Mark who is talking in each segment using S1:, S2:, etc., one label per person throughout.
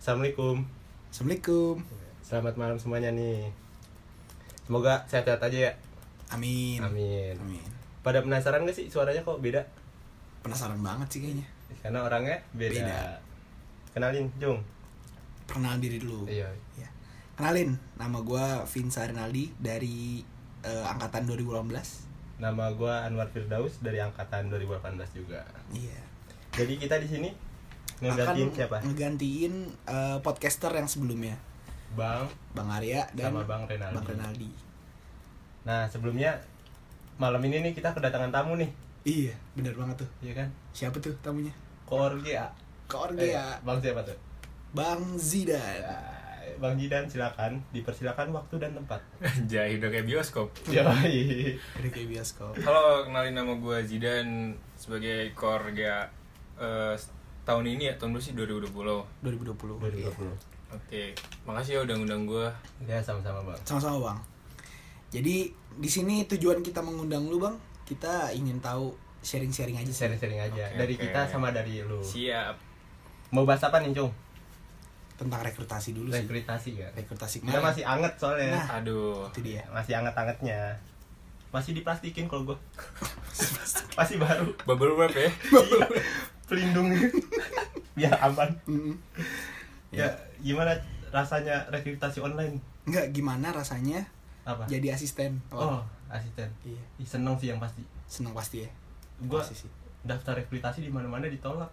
S1: Assalamualaikum.
S2: Assalamualaikum.
S1: Selamat malam semuanya nih. Semoga sehat-sehat aja ya.
S2: Amin.
S1: Amin.
S2: Amin.
S1: Pada penasaran gak sih suaranya kok beda?
S2: Penasaran banget sih kayaknya.
S1: Karena orangnya beda.
S2: Beda.
S1: Kenalin, Jung.
S2: Perkenalan diri dulu.
S1: Iya.
S2: Ya. Kenalin, nama gua Vinsa Rinaldi dari eh, angkatan 2018.
S1: Nama gua Anwar Firdaus dari angkatan 2018 juga.
S2: Iya.
S1: Jadi kita di sini
S2: Akan
S1: ngegantiin siapa?
S2: Ngegantiin eh, podcaster yang sebelumnya,
S1: Bang
S2: Bang Arya dan
S1: sama Bang Renaldi.
S2: Bang Rinaldi.
S1: Nah, sebelumnya malam ini nih kita kedatangan tamu nih,
S2: Iya, bener banget tuh.
S1: iya kan?
S2: Siapa tuh tamunya?
S1: Koorgia.
S2: Korgia,
S1: Eh, Bang siapa tuh?
S2: Bang Zidan. iya.
S1: Eh, Bang Jidan silakan dipersilakan waktu dan tempat.
S3: Anjay, udah kayak bioskop.
S1: Yoi.
S2: Dari kayak bioskop.
S3: Halo, kenalin nama gue Zidan sebagai korga eh, tahun ini ya, tahun dulu sih 2020. Oke,
S2: 2020. Iya.
S1: 2020.
S3: makasih ya udah ngundang gue.
S1: Ya sama-sama bang.
S2: Sama-sama bang. Jadi di sini tujuan kita mengundang lu bang, kita ingin tahu sharing-sharing aja sih.
S1: Sharing-sharing aja
S3: Oke,
S1: dari
S3: oke.
S1: kita sama dari lu.
S3: Siap.
S1: Mau bahas apa nih cung?
S2: tentang rekrutasi dulu sih.
S1: Rekrutasi ya.
S2: Rekrutasi
S1: Kita
S2: kemarin.
S1: masih Iya. anget soalnya.
S2: Nah.
S3: Aduh.
S2: Itu dia.
S1: Masih anget-angetnya. Masih diplastikin kalau gua. Masih baru.
S3: Bubble wrap ya.
S1: Pelindung. Biar aman.
S2: Mm-mm.
S1: Ya gimana rasanya rekrutasi online?
S2: Nggak gimana rasanya
S1: Apa?
S2: jadi asisten?
S1: Oh asisten.
S2: Iya,
S1: Ih, seneng sih yang pasti.
S2: seneng pasti ya.
S1: Gua
S2: Pasti sih.
S1: daftar rekrutasi di mana-mana ditolak.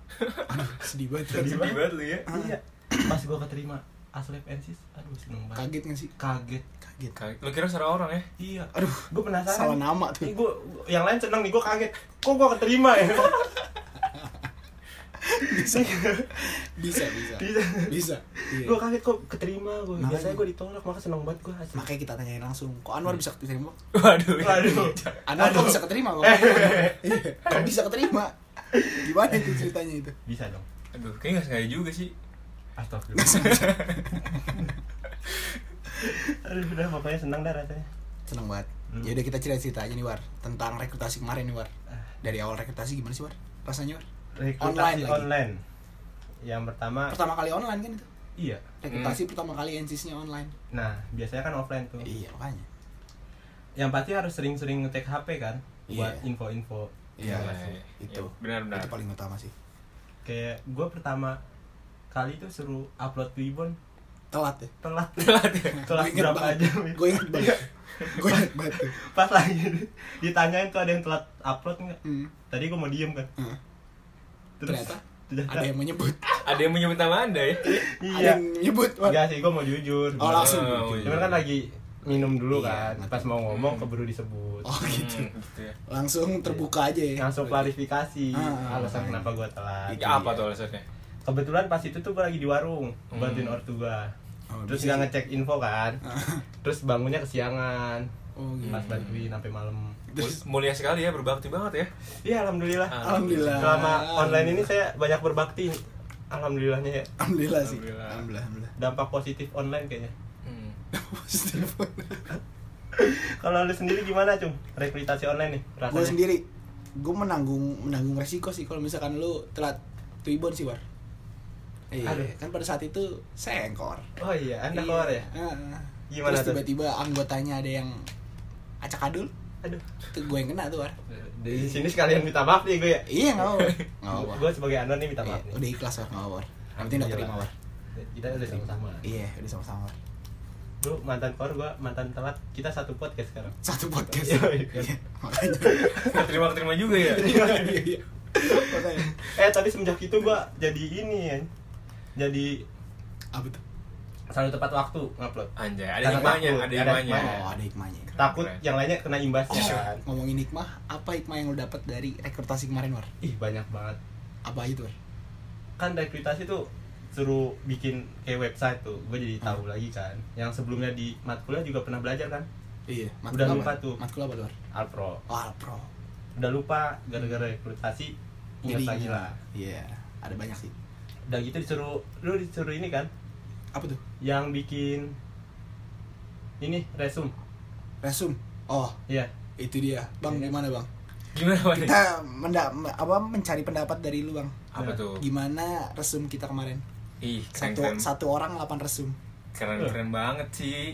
S2: Aduh, sedih banget.
S1: Sedih
S3: Sedih banget lu ya.
S2: Ah.
S1: Iya. Pas gua keterima Aslep Ensis, aduh seneng banget.
S2: Kaget nggak sih?
S1: Kaget.
S2: Kaget.
S3: Kaget. Lu kira salah orang ya?
S1: Iya.
S2: Kan- Aduh,
S1: Gue penasaran. Iya.
S2: salah nama tuh.
S1: Ih, gua, gua- yang lain seneng nih, gue kaget. Kok gue keterima ya?
S2: Bisa, bisa, bisa,
S1: Bisa.
S2: bisa. Iya.
S1: gue kaget kok keterima gue.
S2: Makanya.
S1: Biasanya gue ditolak, maka seneng banget gue.
S2: Makanya kita tanyain langsung. Kok Anwar
S1: Iya.
S2: bisa keterima?
S3: Waduh.
S1: Waduh.
S2: Anwar kok bisa keterima kok? Iya, kok bisa keterima? Gimana itu ceritanya itu?
S1: Bisa dong.
S3: Aduh, kayaknya gak sengaja juga sih.
S1: Astagfirullah. aduh, udah pokoknya seneng dah rasanya.
S2: Seneng banget.
S1: Hmm.
S2: Ya udah kita cerita-cerita aja nih War tentang rekrutasi kemarin nih War.
S1: Ah.
S2: Dari awal rekrutasi gimana sih War? Rasanya War? Online
S1: Rekrutasi online.
S2: lagi.
S1: Yang pertama,
S2: Pertama kali online kan itu?
S1: iya.
S2: Rekrutasi pertama kali NCS-nya online.
S1: Nah, biasanya kan offline tuh.
S2: Iya, makanya.
S1: Yang pasti harus sering-sering ngecek HP kan, buat
S2: Iya.
S1: info-info.
S2: Iya,
S1: informasi.
S2: itu.
S3: Ya, benar-benar.
S2: Itu paling utama sih.
S1: Kayak gue pertama kali tuh suruh upload Wibbon
S2: Telat ya.
S1: telat
S3: Telat ya?
S1: telat
S2: Gua inget
S1: berapa
S2: banget.
S1: aja Iya. Min.
S2: Gue inget banget. Gue inget banget tuh.
S1: pas lagi ditanyain tuh ada yang telat upload nggak
S2: Hmm.
S1: tadi gue mau diem kan
S2: Heeh.
S1: terus
S2: Ternyata
S1: ternyata-
S2: Ada yang menyebut.
S3: Ada yang menyebut nama Anda ya?
S1: iya
S2: Ada yang menyebut War.
S1: Enggak sih gue mau jujur
S2: Oh, langsung.
S3: Oh, iya.
S1: cuman kan lagi minum dulu
S2: Iya,
S1: kan
S2: ngerti.
S1: pas mau ngomong keburu disebut
S2: Oh
S3: Hmm,
S2: gitu.
S3: gitu ya.
S2: Langsung terbuka aja ya.
S1: Iya. langsung klarifikasi
S2: Ah, Iya.
S1: alasan
S2: makanya.
S1: kenapa gue telat
S2: Itu
S3: Ya, apa
S2: dia.
S3: tuh alasannya?
S1: kebetulan pas itu tuh gue lagi di warung
S3: Hmm.
S1: bantuin ortu gue
S2: Oh,
S1: terus
S2: bisa
S1: nggak ngecek info kan
S2: Ah.
S1: terus bangunnya kesiangan
S2: Oh gitu.
S1: pas bantuin sampai malam
S2: Terus-
S3: Mul- Mulia sekali ya, berbakti banget ya.
S1: iya alhamdulillah
S3: Ah.
S2: Alhamdulillah.
S1: selama online ini saya banyak berbakti alhamdulillahnya ya
S2: Alhamdulillah sih.
S3: Alhamdulillah.
S2: Alhamdulillah. Alhamdulillah.
S1: dampak positif online kayaknya
S3: Hmm.
S2: Positif.
S1: kalau lu sendiri gimana cung rekrutasi online nih
S2: gue
S1: rasanya
S2: sendiri, gue menanggung menanggung resiko sih kalau misalkan lu telat tuibon sih war. Iya,
S1: Aduh.
S2: kan pada saat itu saya engkor.
S1: oh iya ya? anda
S2: Iya.
S1: keluar ya
S2: Ah.
S1: Gimana tuh?
S2: Terus tiba-tiba anggotanya ada yang acak adul,
S1: aduh
S2: itu gue yang kena tuh war.
S1: di sini sekalian minta maaf nih gue ya
S2: Iya nggak apa-apa. Nggak apa-apa.
S1: gue sebagai anda nih minta
S2: Iya,
S1: maaf nih
S2: udah ikhlas war nggak apa-apa. War. Yang penting udah terima war.
S1: kita Iya, udah sama-sama
S2: Iya udah sama-sama. War.
S1: lu mantan keluar gue mantan telat kita satu podcast sekarang
S2: Satu podcast.
S1: Iya, iya.
S2: Iya, Makanya.
S3: Terima-terima juga ya.
S2: Iya, iya. Makanya.
S1: eh tapi semenjak itu gue jadi ini ya jadi
S2: Apa tuh?
S1: selalu tepat waktu ngupload
S3: Anjay,
S1: Karena
S3: ada hikmahnya,
S1: takut,
S3: ada
S1: ada
S3: hikmahnya.
S1: hikmahnya.
S2: Oh ada hikmahnya.
S1: takut yang lainnya kena imbasnya
S2: Iya,
S1: kan
S2: ngomongin hikmah apa hikmah yang lo dapat dari rekrutasi kemarin war
S1: ih banyak banget
S2: apa itu war
S1: kan rekrutasi tuh suruh bikin kayak website tuh gue jadi tahu lagi kan yang sebelumnya di matkulnya juga pernah belajar kan
S2: iya
S1: Udah lupa tuh.
S2: matkul apa war
S1: alpro
S2: oh alpro
S1: udah lupa gara-gara rekrutasi ingat
S2: Jadi,
S1: lagi lah
S2: iya ada banyak sih
S1: udah gitu disuruh lu disuruh ini kan
S2: apa tuh
S1: yang bikin ini resume
S2: resum oh
S1: ya
S2: itu dia bang
S1: Iya.
S2: gimana bang
S3: Gimana Pak?
S2: kita menda- me- apa mencari pendapat dari lu bang
S3: Apa tuh?
S2: gimana resum kita kemarin
S3: Ih, keren
S2: Satu
S3: keren.
S2: satu orang 8 resum.
S3: Keren keren banget sih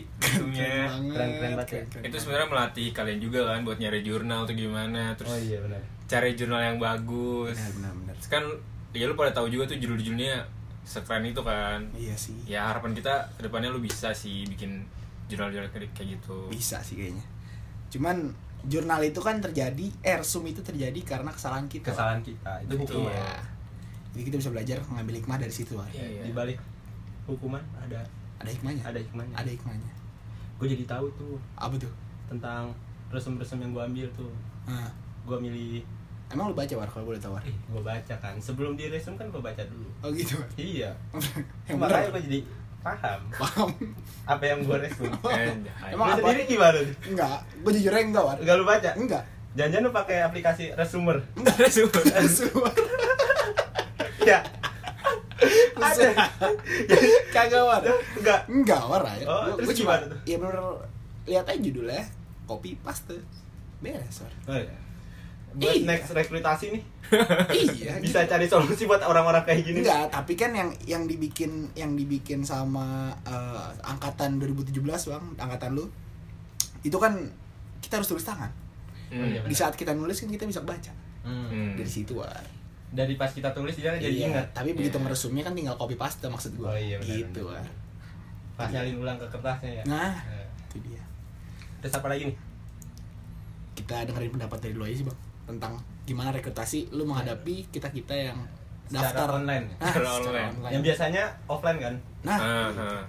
S1: Iya,
S3: itunya.
S1: Keren, keren banget ya.
S2: keren.
S3: Itu sebenarnya melatih kalian juga kan buat nyari jurnal atau gimana, terus
S1: oh iya benar
S3: cari jurnal yang bagus.
S2: Benar, benar, benar.
S3: Terus kan ya lu pada tahu juga tuh judul-judulnya sekeren itu kan.
S2: Iya sih.
S3: Ya harapan kita kedepannya lu bisa sih bikin jurnal-jurnal kayak kayak gitu.
S2: Bisa sih kayaknya. Cuman jurnal itu kan terjadi eh, resum itu terjadi karena kesalahan kita.
S1: kesalahan kita itu hukum
S3: Iya.
S2: Jadi kita bisa belajar ngambil hikmah dari situ. Wak.
S3: Iya, iya.
S1: di balik hukuman ada
S2: Ada hikmahnya.
S1: ada hikmahnya
S2: Ada hikmahnya.
S1: gue jadi tahu tuh
S2: Apa tuh?
S1: tentang resum-resum yang gue ambil tuh
S2: Nah,
S1: gue milih
S2: emang lu baca war kalau boleh tahu War?
S1: eh gue baca kan sebelum di resum kan gue baca dulu
S2: Oh gitu.
S1: iya
S2: Yang
S1: makanya
S2: benar.
S1: gue jadi paham
S2: Paham.
S1: apa yang gue resum
S3: Eh,
S2: Emang
S1: Lu
S2: apa?
S1: sendiri gimana
S2: Enggak, gue jujur aja enggak war.
S1: Enggak lu baca?
S2: Enggak.
S1: Jangan-jangan lu pakai aplikasi Resumer.
S3: Enggak ada sumber.
S1: ya. Ada.
S2: Kagak war.
S1: Enggak.
S2: Enggak war ya.
S1: Oh,
S2: Gua-
S1: terus
S2: gua cuma-
S1: gimana tuh?
S2: Ya bener lihat aja judulnya, copy paste. Beres war.
S1: Oh, iya. Buat
S2: Iya.
S1: next rekrutasi nih
S2: iya.
S1: bisa
S2: gitu.
S1: cari solusi buat orang-orang kayak gini.
S2: Enggak, tapi kan yang yang dibikin yang dibikin sama eh, angkatan 2017, Bang, angkatan lu. Itu kan kita harus tulis tangan.
S1: Oh, iya,
S3: Hmm.
S2: Di saat kita nulis kan kita bisa baca.
S1: Hmm.
S3: Hmm.
S2: Dari situ war.
S1: Dari pas kita tulis dia jadi
S2: Iya,
S1: ingat.
S2: Tapi begitu
S3: Iya.
S2: meresumnya kan tinggal copy paste maksud
S1: Oh,
S2: gua.
S1: iya, benar,
S2: gitu
S1: benar.
S2: War.
S1: Pas nyalin ulang ke kertasnya ya.
S2: Nah,
S1: Eh,
S2: itu dia.
S1: Terus apa lagi nih?
S2: Kita dengerin pendapat dari lo aja sih, Bang, tentang gimana rekrutasi lu menghadapi kita-kita yang
S1: Iya. Secara
S2: daftar
S1: online.
S2: Nah,
S3: Secara
S2: secara
S3: online.
S2: online.
S1: Yang biasanya offline kan?
S2: Nah,
S3: Aha,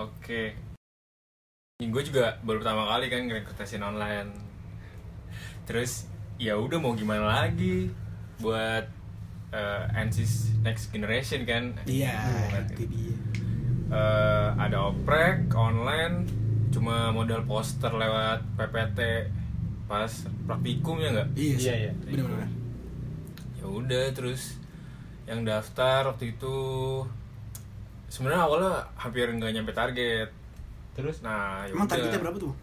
S3: Oke. Gue juga baru pertama kali kan ngerekrutasin online. Terus ya udah mau gimana lagi buat eh, NCIS Next Generation kan?
S2: iya, itu
S3: Eh,
S2: dia.
S3: ada oprek online, cuma modal poster lewat PPT pas praktikum ya nggak?
S2: Iya,
S1: Iya,
S2: sih.
S1: iya.
S2: Benar-benar.
S3: ya udah terus yang daftar waktu itu sebenarnya awalnya hampir nggak nyampe target
S1: Terus
S3: nah ya
S2: Emang
S3: udah.
S2: targetnya berapa tuh? Bang?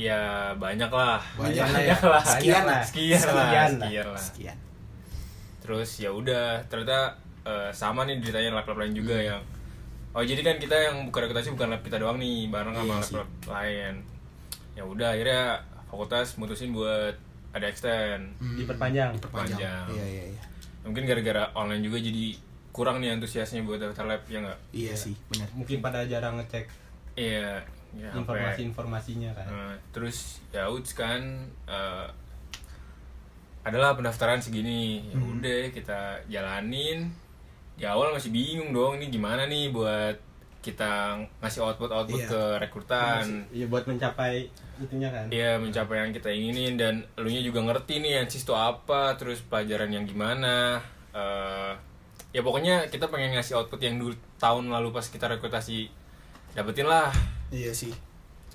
S3: ya banyak lah
S2: Banyak lah
S1: ya.
S3: lah
S2: Sekian lah.
S1: Sekian
S3: sekian lah
S1: lah.
S3: sekian lah
S2: Sekian.
S3: terus ya udah ternyata eh, sama nih ditanya lab-lab lain juga
S2: Hmm.
S3: yang oh jadi kan kita yang buka rekrutasi bukan lab kita doang nih bareng sama
S2: Iya sih.
S3: lab-lab lain ya udah akhirnya fakultas mutusin buat ada extend
S1: diperpanjang.
S2: Diperpanjang.
S3: Panjang.
S2: Iya, iya, iya.
S3: mungkin gara-gara online juga jadi kurang nih antusiasnya buat daftar lab ya nggak
S2: Iya sih, benar.
S1: Mungkin pada jarang ngecek
S3: iya ya, sampai-
S1: informasi-informasinya
S2: Nah.
S1: kan.
S3: Eh, terus ya udah kan eh, adalah pendaftaran segini ya udah kita jalanin di awal masih bingung dong ini gimana nih buat kita ngasih output output
S2: Iya.
S3: ke rekrutan
S2: Hmm.
S1: Iya buat mencapai itunya kan.
S3: Iya mencapai yang kita inginin dan elunya juga ngerti nih ansis itu apa terus pelajaran yang gimana Eh, ya pokoknya kita pengen ngasih output yang dulu tahun lalu pas kita rekrutasi dapetin lah
S2: Iya sih.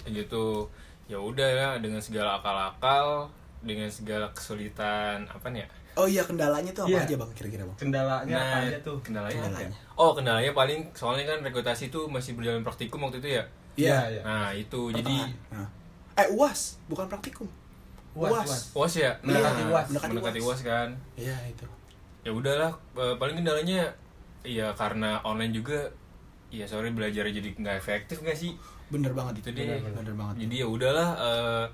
S3: Kayak gitu ya udah ya dengan segala akal-akal dengan segala kesulitan apa nih ya Nah,
S2: Oh iya, kendalanya tuh
S1: Iya.
S2: apa aja, Bang? Kira-kira, Bang?
S1: Kendalanya
S2: Nah,
S1: apa aja tuh?
S3: kendalanya, apa ya?
S2: Kendalanya.
S3: oh kendalanya paling soalnya kan rekrutasi itu masih berjalan praktikum waktu itu ya
S1: Iya, iya.
S3: nah itu jadi
S2: Pertengahan. Nah. Eh, UAS, bukan praktikum.
S1: Uas,
S2: Uas.
S1: uas.
S3: uas ya
S1: Mendekati
S3: Nah,
S1: UAS.
S3: mendekati uas kan
S2: Iya, itu.
S3: ya udahlah eh, paling kendalanya ya karena online juga ya sorry belajar jadi nggak efektif nggak sih
S2: Bener banget
S3: itu
S2: itu.
S3: deh
S2: Bener banget.
S3: jadi ya udahlah eh,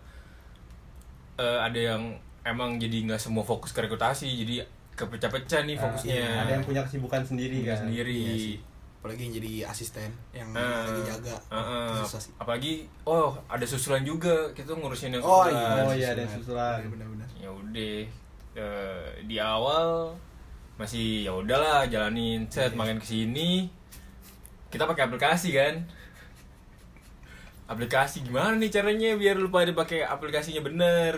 S3: eh, ada yang emang jadi nggak semua fokus ke rekrutasi jadi kepecah-pecah
S2: Eh,
S3: nih fokusnya
S1: Iya, Ada yang punya kesibukan sendiri
S3: Dia
S1: kan.
S3: sendiri
S2: Iya sih. apalagi yang jadi asisten yang
S3: Eh,
S1: Ah.
S2: lagi jaga
S3: eh, eh.
S2: itu susah sih
S3: apalagi oh ada susulan juga kita ngurusin yang
S2: oh
S3: susulan
S2: iya
S1: Oh iya, ada yang susulan.
S2: benar-benar
S3: ya udah eh, di awal masih ya udahlah jalanin set
S1: Iya.
S3: makin kesini kita pakai aplikasi kan aplikasi gimana nih caranya biar lupa ada pakai aplikasinya bener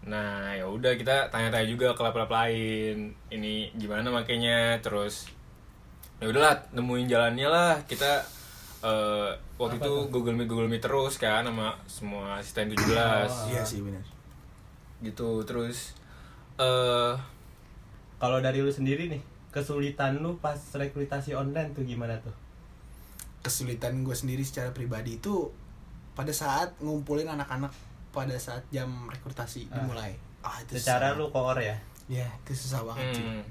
S3: nah ya udah kita tanya-tanya juga ke lab-lab lain ini gimana makainya terus ya udahlah nemuin jalannya lah kita eh, waktu
S1: Apa
S3: itu
S1: tuh?
S3: Google Meet Google Meet terus kan sama semua asisten 17
S2: iya sih benar
S3: gitu terus eh
S1: Kalau dari lu sendiri nih, kesulitan lu pas rekrutasi online tuh gimana tuh?
S2: kesulitan gue sendiri secara pribadi itu pada saat ngumpulin anak-anak pada saat jam rekrutasi
S1: Ah.
S2: dimulai ah itu
S1: Secara
S2: susah.
S1: lu koor ya?
S2: Ah, ya itu susah banget cuy.
S3: hmm,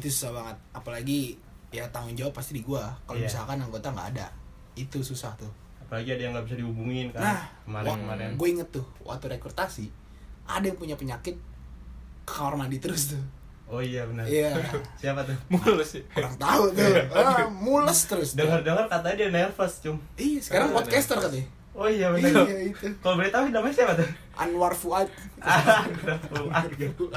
S2: itu susah banget apalagi ya tanggung jawab pasti di gua kalau
S1: Iya.
S2: misalkan anggota nggak ada itu susah tuh
S1: apalagi ada yang nggak bisa dihubungin kan
S2: Nah,
S1: kemarin
S2: wah,
S1: kemarin
S2: gue inget tuh waktu rekrutasi ada yang punya penyakit ke kamar mandi terus tuh
S1: oh iya benar
S2: iya
S1: siapa tuh
S3: mulus sih
S2: kurang tahu tuh ah, mules terus tuh.
S1: Iya. dengar dengar katanya dia nervous cum
S2: iya sekarang podcaster katanya
S1: oh iya benar
S2: iya itu
S1: kalau boleh tahu namanya siapa tuh
S2: Anwar Fuad
S1: Ah, ah, gitu.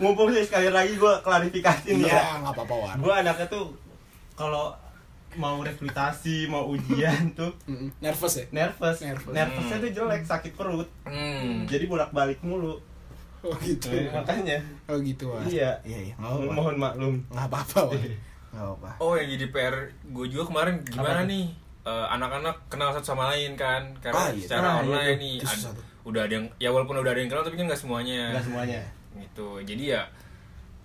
S1: mumpung sih sekali lagi gue klarifikasi nih ya
S2: iya nggak apa-apa War
S1: gue anaknya tuh kalau mau rekrutasi mau ujian tuh
S2: Mm-mm. nervous ya
S1: nervous
S2: Nervous.
S1: nervousnya
S3: Hmm.
S1: tuh jelek sakit perut
S3: hmm.
S1: jadi bolak balik mulu
S2: oh gitu
S1: Eh, makanya
S2: oh gitu War
S1: Iya.
S2: iya iya nggak apa-apa
S1: mohon Iya. maklum
S2: nggak apa-apa War nggak apa-apa
S3: oh yang jadi pr gue juga kemarin gimana
S1: Apa tuh?
S3: nih Eh, anak-anak kenal satu sama lain kan karena
S2: Ah, iya.
S3: secara
S1: Ah, iya,
S3: online
S1: tuh.
S3: nih
S2: Itu
S3: ad-
S2: susah tuh.
S3: udah ada yang ya walaupun udah ada yang kenal tapi kan nggak
S2: Nah.
S3: semuanya
S1: nggak semuanya
S3: gitu jadi ya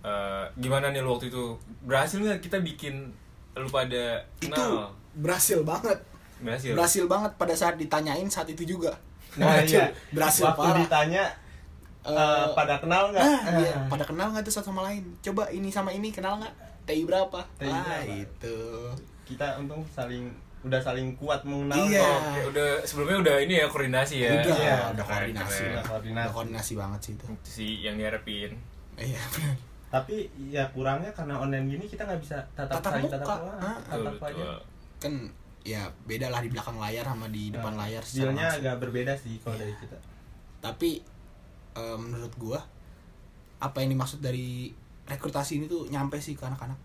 S3: eh, gimana nih lu waktu itu berhasil nggak kita bikin lu pada
S2: itu
S1: Nah.
S3: kenal
S2: berhasil banget
S3: berhasil
S2: berhasil banget pada saat ditanyain saat itu juga
S1: Iya. nah iya
S2: berhasil
S1: waktu
S2: parah
S1: ditanya
S2: Eh,
S1: eh, pada kenal nggak
S2: ah, iya.
S1: Ah.
S2: pada kenal nggak tuh satu sama lain coba ini sama ini kenal nggak TI berapa
S1: TI
S2: ah
S1: berapa?
S2: itu
S1: kita untung saling udah saling kuat mengenal kok.
S2: Iya.
S3: Oh, Oke, udah sebelumnya udah ini ya koordinasi ya.
S2: udah
S1: iya.
S2: udah
S3: Keren,
S2: koordinasi
S3: keren.
S1: Udah koordinasi.
S2: udah koordinasi banget sih itu
S3: Itu sih yang diharapin.
S2: iya benar
S1: tapi ya kurangnya karena online gini kita nggak bisa tatap
S2: Tatap
S1: saling
S2: muka.
S1: tatap muka
S2: Ah,
S1: tatap
S3: Betul,
S1: aja
S3: betul.
S2: kan ya beda lah di belakang layar sama di depan
S1: Nah,
S2: layar Iya. secara
S1: feelnya
S2: langsung.
S1: agak berbeda sih kalau dari kita
S2: tapi eh, menurut gua apa yang dimaksud dari rekrutasi ini tuh nyampe sih ke anak-anak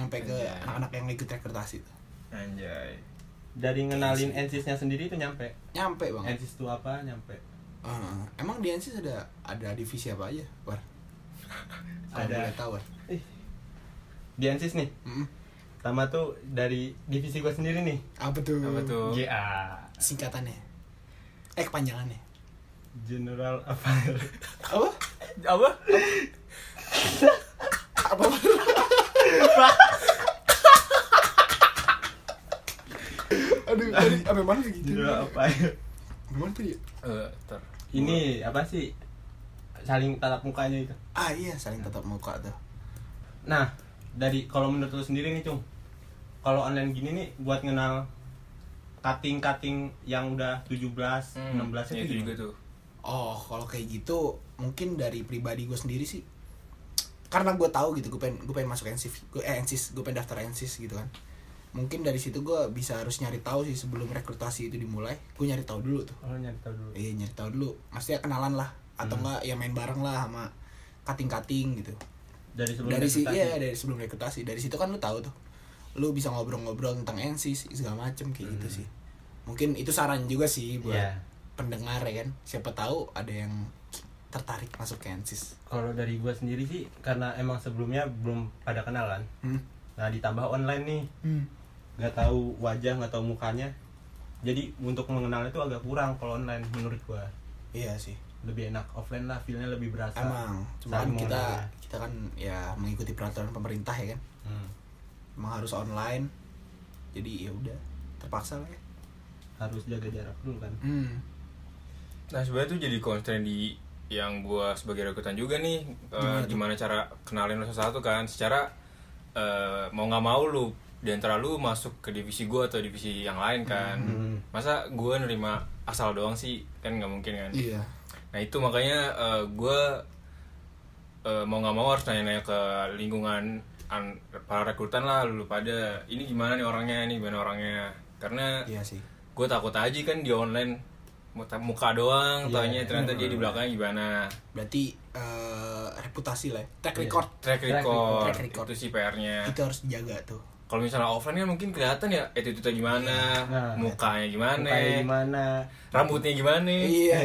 S2: nyampe ke
S3: Anjay.
S2: anak-anak yang ikut rekrutasi tuh
S3: Anjay.
S1: dari
S2: Iya
S1: ngenalin ensisnya sendiri itu nyampe
S2: nyampe banget
S1: ensis itu apa nyampe
S2: Eh, emang di NC ada ada divisi apa aja war Kalau
S1: Ada.
S2: boleh tahu war
S1: di ensis nih
S2: Mm-mm.
S1: sama tuh dari divisi gue sendiri nih
S2: apa tuh
S3: Apa
S1: Oh.
S3: tuh?
S1: GA
S2: singkatannya eh kepanjangannya
S1: General Affair
S2: apa
S3: Apa?
S2: apa aduh tadi apa mana sih gitu
S1: General Affair
S2: Apa mana tadi ya?
S3: Eh, ntar.
S1: ini apa sih saling tatap mukanya itu
S2: ah iya saling tatap muka tuh
S1: nah dari kalau menurut lu sendiri nih cung kalau online gini nih buat ngenal cutting cutting yang udah 17 16 Iya,
S3: Hmm, ya,
S1: itu
S3: itu
S1: gimana?
S3: juga tuh.
S2: oh kalau kayak gitu mungkin dari pribadi gue sendiri sih karena gue tahu gitu gue pengen gue pengen masuk ensis gue eh, ensis gue pengen daftar ensis gitu kan mungkin dari situ gue bisa harus nyari tahu sih sebelum rekrutasi itu dimulai gue nyari tahu dulu tuh
S1: Oh, nyari tahu dulu.
S2: Iya nyari tahu dulu, maksudnya kenalan lah atau enggak ya main bareng lah sama kating-kating gitu.
S1: Dari sebelum
S2: dari si
S1: rekrutasi.
S2: iya dari sebelum rekrutasi, dari situ kan lu tahu tuh. Lu bisa ngobrol-ngobrol tentang NCS segala macem kayak gitu sih. Mungkin itu saran juga sih buat
S1: Iya.
S2: pendengar ya kan. Siapa tahu ada yang tertarik masuk ke NCS.
S1: Kalau dari gua sendiri sih karena emang sebelumnya belum pada kenalan.
S2: Hmm.
S1: Nah, ditambah online nih, nggak tahu wajah, nggak tahu mukanya. Jadi untuk mengenalnya itu agak kurang kalau online menurut gua.
S2: Iya sih.
S1: Lebih enak offline lah, feelnya lebih berasa.
S2: Emang cuman
S1: saling
S2: kita
S1: mengenalnya.
S2: kita kan ya mengikuti peraturan pemerintah ya kan.
S1: Hmm,
S2: Emang harus online. Jadi ya udah terpaksa lah ya.
S1: harus jaga jarak dulu kan.
S2: Hmm.
S3: Nah, sebenarnya tuh jadi konsen di yang gua sebagai rekrutan juga nih eh, gimana cara kenalin lo satu kan secara eh, mau nggak mau lu di antara lu masuk ke divisi gua atau divisi yang lain kan
S1: Hmm.
S3: masa gua nerima asal doang sih kan nggak mungkin kan
S2: Iya.
S3: Nah itu makanya gue mau nggak mau harus nanya-nanya ke lingkungan an- para rekrutan lah lu pada ini gimana nih orangnya ini gimana orangnya karena
S2: Iya sih.
S3: gue takut aja kan di online muta- muka doang
S1: Iya,
S3: taunya
S1: iya,
S3: ternyata
S1: iya,
S3: dia di
S1: iya.
S3: belakangnya gimana
S2: berarti eh, reputasi lah ya. track
S1: Iya.
S2: record
S3: track
S1: Track
S3: record,
S2: record. Track record.
S3: itu sih PR-nya
S2: itu harus dijaga tuh
S3: kalau misalnya offline kan mungkin kelihatan ya attitude-nya gimana
S1: Nah.
S3: mukanya gimana
S1: Mukanya gimana?
S3: rambutnya gimana
S2: iya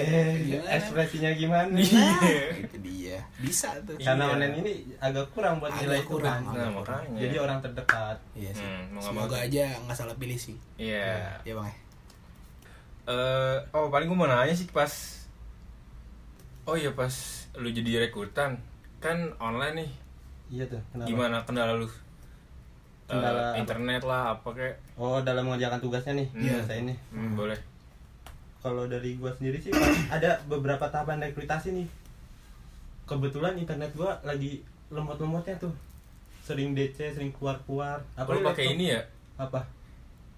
S1: Ekspresinya gimana?
S2: itu dia bisa tuh
S3: Iya.
S1: Iya. Karena online ini agak kurang buat
S2: Agak
S1: nilai itu
S2: kurang.
S1: kan.
S3: nah makanya
S1: Jadi orang terdekat.
S2: iya sih
S3: Hmm, mau nggak mau
S2: semoga
S3: tuh.
S2: aja nggak salah pilih sih
S3: iya
S2: ya bang ya
S3: eh oh paling gue mau nanya sih pas oh iya pas lu jadi rekrutan kan online nih
S1: Iya tuh. Kenapa?
S3: gimana kendala lu Eh,
S1: Kendala apa?
S3: internet lah apa kayak
S1: Oh, dalam mengerjakan tugasnya nih.
S3: Iya.
S1: Saya ini.
S3: Hmm, boleh
S1: kalau dari gua sendiri sih Pak, ada beberapa tahapan rekrutasi nih kebetulan internet gua lagi lemot-lemotnya tuh sering DC sering keluar-keluar
S3: Lu
S1: Apalagi
S3: pakai
S1: laptop.
S3: ini ya?
S1: apa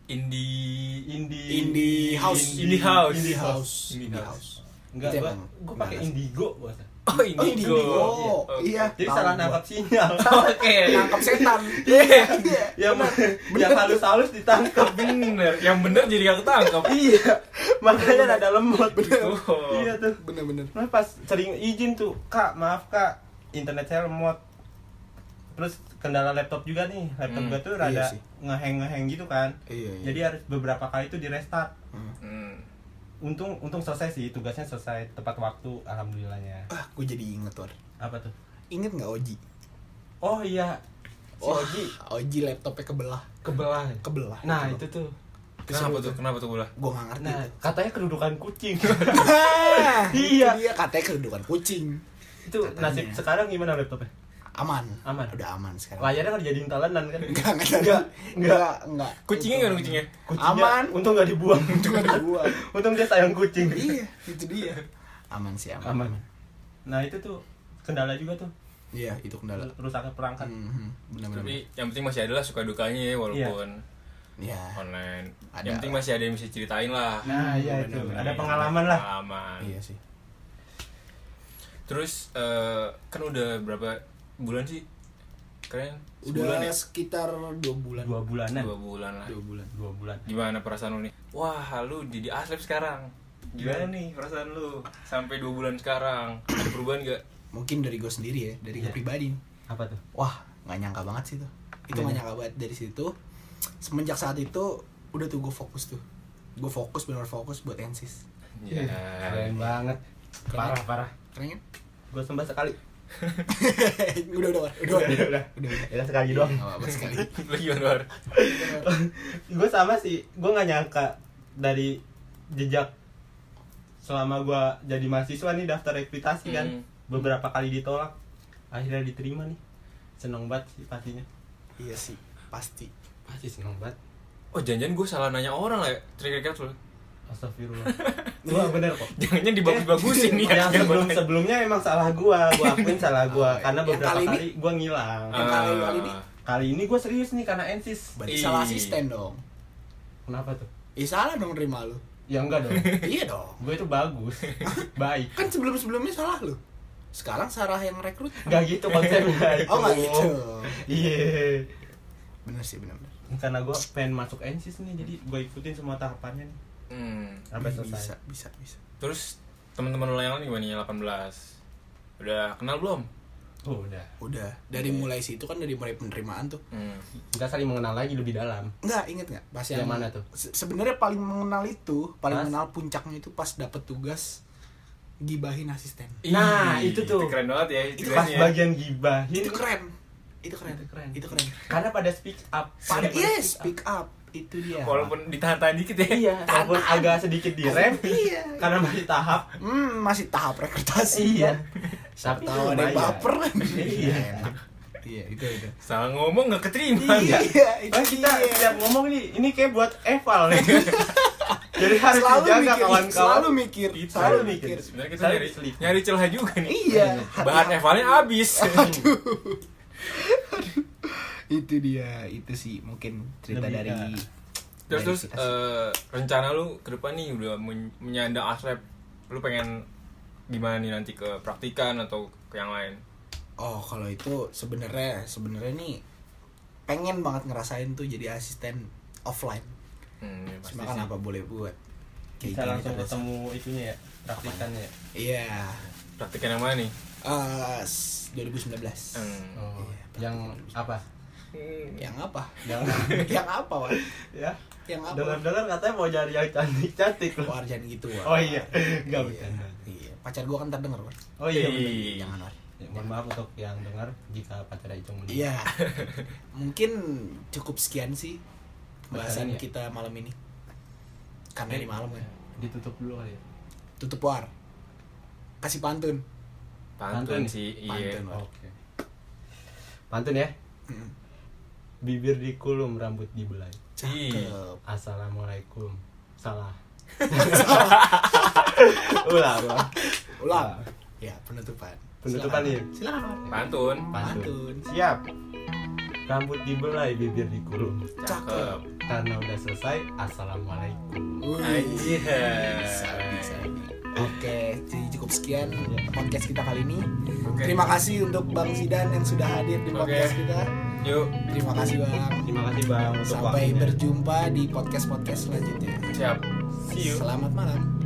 S3: Indie
S1: indie
S2: Indie house.
S1: indie house
S2: Indie house.
S3: Indie
S2: Indie
S3: house.
S2: house.
S1: enggak
S2: Itu
S1: gua
S2: emang
S1: gua pakai
S2: bagus.
S1: indigo gua rasa.
S3: Oh, Indigo.
S2: Oh, Indigo. Iya.
S1: jadi
S2: Tahu
S1: salah
S2: gua.
S1: nangkap sinyal
S3: Oke.
S2: Nangkap setan. Iya.
S1: ya yang halus-halus ditangkap
S3: Bener, yang bener jadi gak ketangkep.
S1: iya makanya ada lemot
S3: Betul.
S1: iya tuh
S2: Bener-bener.
S1: Nah, pas sering izin tuh, Kak, maaf Kak, internet saya lemot. Terus kendala laptop juga nih, laptop
S3: Hmm,
S1: gua tuh
S2: iya
S1: rada
S2: sih.
S1: ngeheng ngeheng gitu kan.
S2: Iya, iya.
S1: Jadi harus beberapa kali tuh di restart.
S2: Hmm.
S3: Hmm.
S1: Untung untung selesai sih, tugasnya selesai tepat waktu, alhamdulillahnya.
S2: Ah, gue jadi inget war.
S1: Apa tuh?
S2: Inget nggak Oji?
S1: Oh iya, si
S2: Wah,
S1: Oji
S2: Oji laptopnya kebelah.
S1: kebelah.
S2: Oh, Kebelah.
S1: Nah itu tuh,
S3: Kenapa tuh? Kenapa tuh bola?
S2: Gue nggak ngerti.
S1: nah
S2: itu.
S1: katanya kedudukan kucing.
S2: Hah,
S1: Iya.
S2: itu Dia katanya kedudukan kucing.
S1: itu nasib sekarang gimana laptopnya?
S2: Aman.
S1: Aman.
S2: Udah aman sekarang.
S1: Layarnya kan dijadiin talenan kan?
S2: Enggak,
S1: Enggak,
S2: enggak, enggak, enggak, enggak.
S3: Kucingnya
S2: Itu
S3: gimana kucingnya?
S1: Kucingnya,
S2: Aman.
S1: Untung nggak dibuang.
S2: Itu kan gua.
S1: untung dia sayang kucing.
S2: Iya, itu dia. Aman sih, aman.
S1: aman. Nah itu tuh kendala juga tuh
S2: Iya, itu kendala.
S1: rusaknya perangkat.
S2: Mhm, Benar-benar.
S3: Tapi yang penting masih ada lah suka dukanya ya walaupun
S2: Iya.
S3: online.
S2: Ada
S3: yang penting
S2: lah.
S3: masih ada yang bisa ceritain lah.
S1: Nah iya itu
S2: benar-benar.
S1: ada pengalaman lah.
S3: Pengalaman.
S2: Iya sih.
S3: Terus eh, kan udah berapa bulan sih? Keren. Sebulan
S2: Udah
S3: ya?
S2: sekitar dua bulan.
S1: Dua bulanan.
S3: Dua bulan lah.
S2: Dua bulan.
S1: Dua bulan.
S3: Gimana perasaan lu nih? Wah, lu jadi aslep sekarang. Gimana nih perasaan lu sampai dua bulan sekarang? Ada perubahan gak?
S2: Mungkin dari gue sendiri ya, dari gue
S1: Iya.
S2: pribadi. nih.
S1: Apa tuh?
S2: Wah, nggak nyangka banget sih tuh. Itu nggak nyangka banget dari situ. Semenjak saat itu udah tuh gue fokus tuh. Gue fokus benar fokus buat ensis.
S1: Iya.
S3: Ya.
S1: Eh, Keren banget.
S2: Keren.
S1: Parah parah.
S2: Keren kan?
S1: Gue sembah sekali.
S2: udah udah War. udah
S1: Udah udah.
S2: udah.
S1: Ya sekali doang.
S2: Nggak apa-apa sekali.
S3: Lu gimana, War?
S1: gue sama sih. Gue nggak nyangka dari jejak selama gue jadi mahasiswa nih daftar reputasi kan
S3: Hmm.
S1: beberapa kali ditolak akhirnya diterima nih seneng banget sih pastinya
S2: Iya sih, pasti.
S1: pasti seneng banget
S3: Oh, jangan-jangan gue salah nanya orang lah ya. Trik lu.
S1: Astagfirullah. Gua bener kok.
S3: Jangan-jangan dibagus-bagusin nih. ya.
S1: Yang sebelum sebelumnya emang salah gua, gua akuin salah gua
S2: Oh,
S1: karena
S2: yang
S1: beberapa
S2: kali
S1: kali,
S2: ini?
S1: gua ngilang.
S2: Yang kali kali
S3: Ah,
S2: ini.
S1: Kali ini gua serius nih karena ensis.
S2: Berarti
S3: Ih.
S2: salah asisten dong.
S1: Kenapa tuh?
S2: Iya salah dong nerima lu.
S1: Ya enggak dong.
S2: iya dong.
S1: Gua itu bagus, baik.
S2: Kan sebelum-sebelumnya salah lu. Sekarang Sarah yang rekrut.
S1: Enggak gitu konsepnya itu.
S2: Oh nggak gitu.
S1: Iya.
S2: Bener sih bener-bener.
S1: Karena gua pengen masuk ensis nih, jadi gua ikutin semua tahapannya nih
S3: Hmm.
S1: sampai
S2: bisa,
S1: selesai.
S2: bisa, bisa.
S3: Terus teman-teman lo yang lain gimana nih 18? Udah kenal belum?
S1: Oh, udah.
S2: Udah. Dari
S3: Oke.
S2: mulai situ kan dari mulai penerimaan tuh.
S3: Hmm.
S1: Enggak saling mengenal lagi lebih dalam.
S2: Enggak, inget nggak? Pas yang,
S1: Yang mana tuh?
S2: Se- Sebenarnya paling mengenal itu, paling
S1: Pas?
S2: mengenal puncaknya itu pas dapet tugas gibahin asisten.
S1: Nah,
S3: Ih,
S1: itu tuh.
S3: keren banget ya
S1: Itu pas
S3: tugasnya.
S1: bagian gibahin
S2: Itu keren. Itu keren.
S1: Itu keren.
S2: Itu keren.
S1: karena pada speak up.
S2: Pada
S1: pada
S2: yes, pick Iya, up. Itu dia.
S3: Walaupun ditahan-tahan dikit ya.
S1: Iya, walaupun agak sedikit direm
S2: Iya.
S1: karena masih tahap.
S2: Hmm, masih tahap rekrutasi.
S1: Iya.
S2: kan?
S1: Tapi
S2: Tahu ada
S1: lumayan.
S2: yang baper kan?
S1: Iya.
S2: Enak. Iya, itu itu.
S3: Salah ngomong nggak keterima.
S2: Iya, itu
S1: Oh, kita
S2: dia.
S1: setiap ngomong nih, ini kayak buat eval nih. Jadi harus
S2: selalu
S1: dijaga
S2: mikir,
S1: kawan-kawan.
S2: selalu mikir,
S3: Itu.
S2: selalu mikir.
S3: Sebenarnya kita
S1: Saya
S3: nyari,
S1: diselip.
S3: nyari celah juga nih.
S2: Iya.
S3: Bahan evalnya habis.
S2: Itu dia, itu sih mungkin cerita
S1: Lebih
S2: dari
S1: ke-
S3: Terus
S2: dari
S3: terus
S2: kita sih.
S3: eh, rencana lu ke depan nih udah men- menyandang aslep, lu pengen gimana nih nanti ke praktikan atau ke yang lain?
S2: Oh, kalau itu sebenarnya sebenarnya nih pengen banget ngerasain tuh jadi asisten offline.
S3: Hmm, ya pasti
S2: Cuma kan
S3: sih.
S2: apa boleh buat.
S1: Bisa
S2: gini
S1: langsung
S2: terus.
S1: ketemu itunya ya, praktikannya ya.
S2: Iya.
S3: Praktikan yang mana nih?
S2: Eh, s- 2019.
S3: Hmm.
S1: Oh,
S2: Iya,
S1: yang apa?
S2: Yang apa?
S1: Yang
S2: yang apa, Wan?
S1: ya.
S2: Yang apa?
S1: Dengar-dengar katanya mau jadi yang cantik-cantik loh.
S2: War jangan gitu, Wan.
S1: Oh iya, enggak
S2: iya.
S1: bercanda.
S2: iya. Pacar gua kan terdengar, Wan.
S1: Oh iya. bener.
S3: Ih.
S2: Jangan, Wan.
S1: Ya, mohon maaf untuk yang dengar jika pacar Icung mendengar.
S2: Iya. Mungkin cukup sekian sih
S1: Bahasannya.
S2: bahasan kita malam ini. Karena ini malam
S1: Iya.
S2: kan.
S1: Ditutup dulu kali ya.
S2: Tutup war. Kasih pantun.
S1: Pantun.
S3: Pantun sih, iya.
S2: Pantun, war.
S1: Oke. Pantun ya.
S2: Mm.
S1: Bibir dikulum, rambut dibelai.
S3: Iya.
S2: Cakep.
S1: Assalamualaikum. Salah. ulang, ulang.
S2: Ulang. Ya, penutupan.
S1: Iya. Penutupan,
S2: Silakan.
S1: iya.
S2: Silakan. War.
S3: Pantun.
S1: Pantun.
S2: Pantun.
S1: Siap. rambut dibelai bibir dikulung
S2: Cakep.
S1: karena udah selesai assalamualaikum
S3: Anjir.
S2: Sabi, sabi. Oke, jadi cukup sekian
S1: Iya.
S2: podcast kita kali ini.
S3: Oke.
S2: Terima kasih untuk Bang Zidan yang sudah hadir di
S3: Oke.
S2: podcast kita.
S3: Yuk,
S2: Terima kasih Bang.
S1: terima kasih bang untuk
S2: Sampai
S1: waktunya.
S2: berjumpa di podcast-podcast selanjutnya.
S3: siap. See you.
S2: Selamat malam.